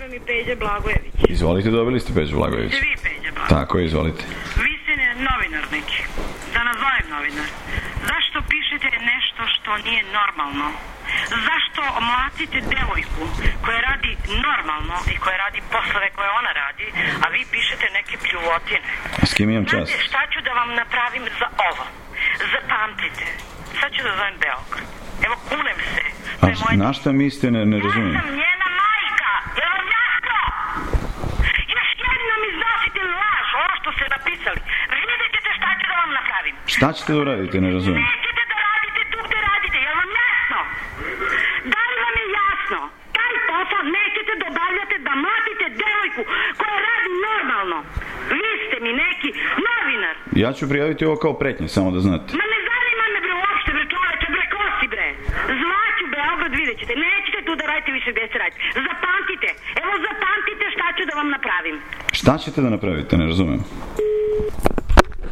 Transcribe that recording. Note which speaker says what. Speaker 1: nam je Peđa Blagojević.
Speaker 2: Izvolite, dobili ste Peđu Blagojević.
Speaker 1: Ste vi Peđa Blagojević?
Speaker 2: Tako, je, izvolite.
Speaker 1: Vi ste ne novinar neki. Da nazovem novinar. Zašto pišete nešto što nije normalno? Zašto omlatite devojku koja radi normalno i koja radi poslove koje ona radi, a vi pišete neke pljuvotine?
Speaker 2: S kim imam čast?
Speaker 1: Znate šta ću da vam napravim za ovo? Zapamtite. Sad ću da zovem Beograd. Evo, kunem se. To
Speaker 2: A
Speaker 1: je moje
Speaker 2: na šta mislite, ne, ne razumijem.
Speaker 1: ja sam njena majka, jel vam jasno? Još jednom iznosite laž, ovo što ste napisali. Vidjet ćete šta ću da vam napravim.
Speaker 2: Šta ćete da uradite, ne razumijem.
Speaker 1: Nećete da radite tu gde radite, jel vam jasno? Da li vam je jasno? Taj posao nećete da obavljate da matite devojku koja radi normalno. Vi ste mi neki novinar.
Speaker 2: Ja ću prijaviti ovo kao pretnje, samo da znate.
Speaker 1: Ma ne zanima me bre uopšte bre čoveče, bre ko si bre. Zvaću Beograd, vidjet ćete. Nećete tu da radite više gdje se radite. Zapamtite, evo zapamtite šta ću da vam napravim.
Speaker 2: Šta ćete da napravite, ne razumijem.